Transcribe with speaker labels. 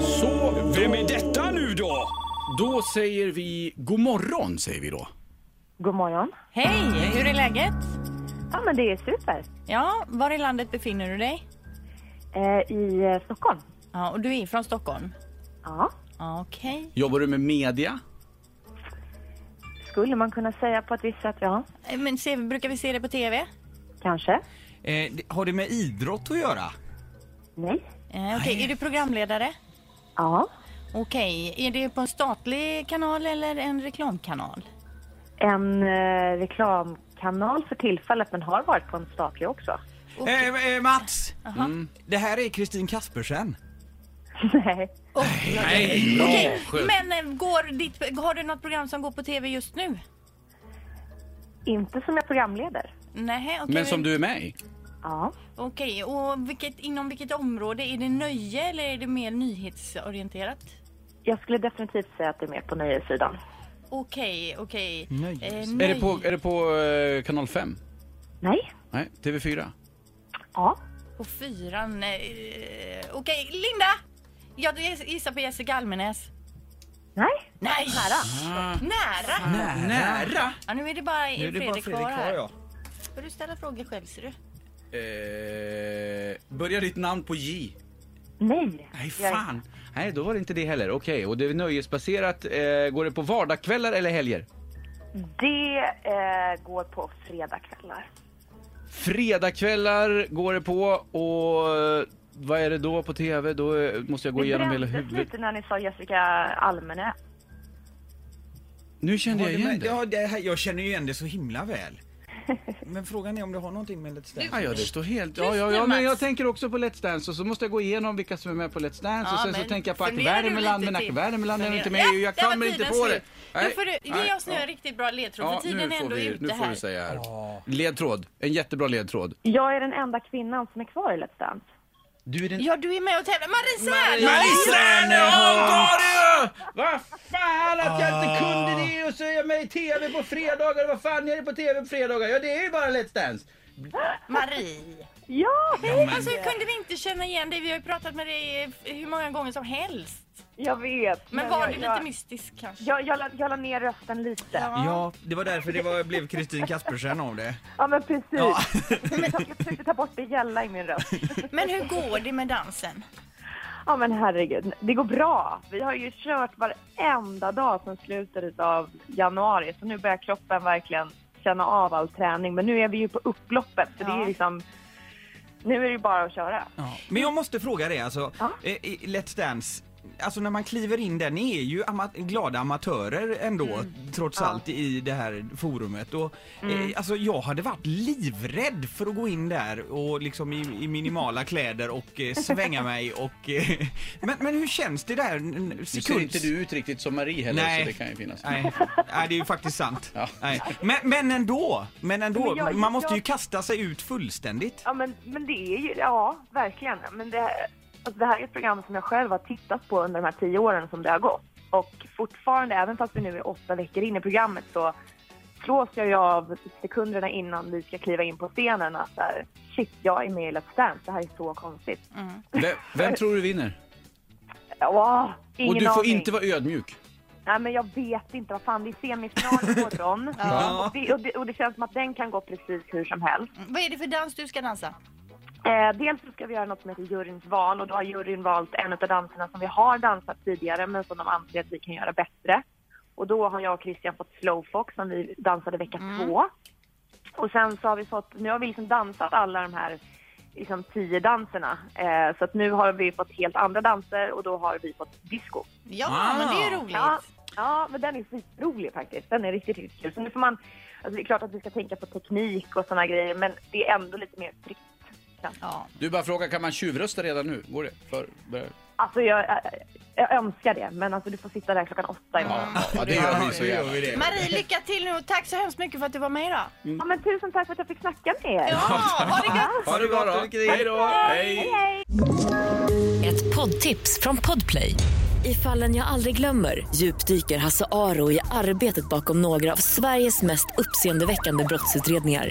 Speaker 1: Så, vem är detta nu då? Då säger vi god morgon, säger vi då.
Speaker 2: God morgon.
Speaker 3: Hej! Hur är läget?
Speaker 2: Ja, men det är super.
Speaker 3: Ja, var i landet befinner du dig?
Speaker 2: Eh, I eh, Stockholm?
Speaker 3: Ja, och du är från Stockholm?
Speaker 2: Ja,
Speaker 3: Ja, Okej.
Speaker 1: Jobbar du med media?
Speaker 2: skulle man kunna säga på ett visst sätt, ja.
Speaker 3: Eh, Men se, brukar vi se det på TV?
Speaker 2: Kanske.
Speaker 4: Eh, det- har det med idrott att göra?
Speaker 2: Nej.
Speaker 3: Eh, Okej, är du programledare?
Speaker 2: Ja.
Speaker 3: Okej, är det på en statlig kanal eller en reklamkanal?
Speaker 2: En eh, reklamkanal för tillfället, men har varit på en statlig också.
Speaker 4: Eh, eh, Mats! Mm. Det här är Kristin Kaspersen.
Speaker 2: Nej.
Speaker 1: Nej,
Speaker 3: Okej, men eh, går ditt, har du något program som går på TV just nu?
Speaker 2: Inte som jag programleder.
Speaker 3: Nej, okej.
Speaker 1: Men som du är med i?
Speaker 2: Ja.
Speaker 3: Okej, och vilket, inom vilket område? Är det nöje eller är det mer nyhetsorienterat?
Speaker 2: Jag skulle definitivt säga att det är mer på nöjessidan.
Speaker 3: Okej, okej.
Speaker 4: Nöjes.
Speaker 3: Eh,
Speaker 1: Är det
Speaker 3: nöj-
Speaker 1: på, är det på eh, kanal 5?
Speaker 2: Nej.
Speaker 1: Nej, TV4?
Speaker 2: Ja.
Speaker 3: På fyran... Eh, Okej, Linda! Jag gissar på Jessica Almenäs.
Speaker 2: Nej.
Speaker 3: Nej! Nära! Mm. Nära!
Speaker 4: Nära!
Speaker 3: Ja, nu är det bara
Speaker 4: Nu är det
Speaker 3: Fredrik,
Speaker 4: bara Fredrik
Speaker 3: kvar här.
Speaker 4: kvar ja.
Speaker 3: Får du ställa frågor själv, ser du?
Speaker 1: Eh, börjar ditt namn på J?
Speaker 2: Nej.
Speaker 1: Nej, fan! Nej, då var det inte det heller. Okej, och det är nöjesbaserat. Eh, går det på vardagskvällar eller helger?
Speaker 2: Det eh, går på fredagskvällar.
Speaker 1: Fredagkvällar går det på och eh, vad är det då på TV? Då eh, måste jag gå
Speaker 2: Det
Speaker 1: igenom hela
Speaker 2: brändes
Speaker 1: huvudet.
Speaker 2: lite när ni sa Jessica Almenäs.
Speaker 1: Nu kände
Speaker 4: Har
Speaker 1: jag
Speaker 4: det med,
Speaker 1: igen det.
Speaker 4: ja, det här, jag känner ju igen det så himla väl. Men frågan är om det har någonting med Let's Dance
Speaker 1: Ja, ja, det står helt... Ja, ja,
Speaker 3: Lyssna,
Speaker 1: ja, men
Speaker 3: Mats.
Speaker 1: jag tänker också på Let's Dance och så måste jag gå igenom vilka som är med på Let's Dance och
Speaker 3: Ja,
Speaker 1: sen så
Speaker 3: men
Speaker 1: tänker jag på Ack
Speaker 3: funderar du
Speaker 1: Värmeland,
Speaker 3: lite
Speaker 1: men Ack
Speaker 3: till?
Speaker 1: Värmeland är
Speaker 3: Fundera-
Speaker 1: inte med i EU. Jag
Speaker 3: där var
Speaker 1: kommer inte
Speaker 3: tiden
Speaker 1: på det.
Speaker 3: slut. Nu får du ge oss nu en riktigt bra ledtråd,
Speaker 1: Ja,
Speaker 3: för tiden
Speaker 1: nu
Speaker 3: är
Speaker 1: får
Speaker 3: ändå
Speaker 1: vi,
Speaker 3: ute
Speaker 1: nu får
Speaker 3: här.
Speaker 1: du säga här. Ledtråd. En jättebra ledtråd.
Speaker 2: Jag är den enda kvinnan som är kvar i Let's Dance.
Speaker 1: Du är den...
Speaker 3: Ja, du är med och tävlar. Marisa!
Speaker 1: Stjärneholm var det ju! Vad fan att jag inte kunde det och så är jag med i TV på fredagar. Vad fan är det på TV på fredagar? Ja, det är ju bara Let's Dance.
Speaker 3: Marie!
Speaker 2: Ja,
Speaker 3: Alltså, hur kunde vi inte känna igen dig? Vi har ju pratat med dig eh, hur många gånger som helst.
Speaker 2: jag vet.
Speaker 3: Men var
Speaker 2: jag,
Speaker 3: du lite
Speaker 2: jag,
Speaker 3: mystisk kanske?
Speaker 2: jag, jag, la- jag la ner rösten lite. Ja,
Speaker 4: Ja, det var därför det var, blev Kristin Kaspersen av det.
Speaker 2: men precis.
Speaker 4: Ja.
Speaker 2: Men jag försökte ta bort det gälla i min röst.
Speaker 3: Men hur går det med dansen?
Speaker 2: Ja, men herregud. Det går bra. Vi har ju kört varenda dag sedan slutet av januari. Så nu börjar kroppen verkligen känna av all träning. Men nu är vi ju på upploppet. Så det
Speaker 3: Ja.
Speaker 2: är liksom... Nu är det ju bara att köra.
Speaker 4: Ja. Men jag måste fråga dig alltså,
Speaker 2: Ja.
Speaker 4: eh, i Let's Dance, alltså när man kliver in där, ni är ju ama glada amatörer ändå trots allt i det här forumet och eh, alltså jag hade varit livrädd för att gå in där och liksom i, i minimala kläder och eh, svänga mig och eh, men, men hur känns det där? Nu
Speaker 1: Nu ser inte du ut riktigt som Marie heller,
Speaker 4: Nej.
Speaker 1: så det kan ju finnas.
Speaker 4: Nej, nej, det är ju faktiskt sant.
Speaker 1: Ja.
Speaker 4: Nej. Men, men ändå, men ändå,
Speaker 2: Men jag-
Speaker 4: man måste ju
Speaker 2: jag-
Speaker 4: kasta sig ut fullständigt.
Speaker 2: Ja, men, men det är ju... Ja, verkligen. Men det, alltså det här är ett program som jag själv har tittat på under de här tio åren som det har gått. Och fortfarande, även fast vi nu är åtta veckor in i programmet så slås jag ju av sekunderna innan vi ska kliva in på scenen att så här, shit, jag är med i Let's Dance. Det här är så konstigt.
Speaker 1: Vem, vem tror du vinner?
Speaker 2: Åh, ingen
Speaker 1: Och du får
Speaker 2: aning.
Speaker 1: inte vara ödmjuk.
Speaker 2: Nej, men jag vet inte. Vad fan, det är semifinal imorgon.
Speaker 4: Ja.
Speaker 2: och, det, och, det, och det känns som att den kan gå precis hur som helst.
Speaker 3: Vad är det för dans du ska dansa?
Speaker 2: Eh, dels så ska vi göra något som heter juryns val och då har juryn valt en av danserna som vi har dansat tidigare men som de anser att vi kan göra bättre. Och då har jag och Christian fått slowfox som vi dansade vecka två. Och sen så har vi fått, nu har vi liksom dansat alla de här liksom tio danserna. Eh, så att nu har vi fått helt andra danser och då har vi fått disco.
Speaker 3: Ja,
Speaker 4: Ah.
Speaker 3: men det är roligt.
Speaker 2: Ja, ja men den är skitrolig faktiskt. Den är riktigt, riktigt kul. Så nu får man, alltså det är klart att vi ska tänka på teknik och sådana grejer men det är ändå lite mer fritt. verkligen.
Speaker 3: Ja.
Speaker 1: Du bara fråga, kan man tjuvrösta redan nu? Går det? För, börjar-
Speaker 2: Alltså jag, jag, jag önskar det, men alltså du får sitta där klockan åtta imorgon.
Speaker 1: ja, ja, det gör vi så gärna.
Speaker 4: det.
Speaker 3: Marie, lycka till nu och tack så hemskt mycket för att du var med idag.
Speaker 2: Ja, men tusen tack för att jag fick snacka med er.
Speaker 3: Ja, ha det gött!
Speaker 1: Ha det bra då. Hej då. Hej.
Speaker 5: Ett poddtips från Podplay. I fallen jag aldrig glömmer djupdyker Hasse Aro i arbetet bakom några av Sveriges mest uppseendeväckande brottsutredningar.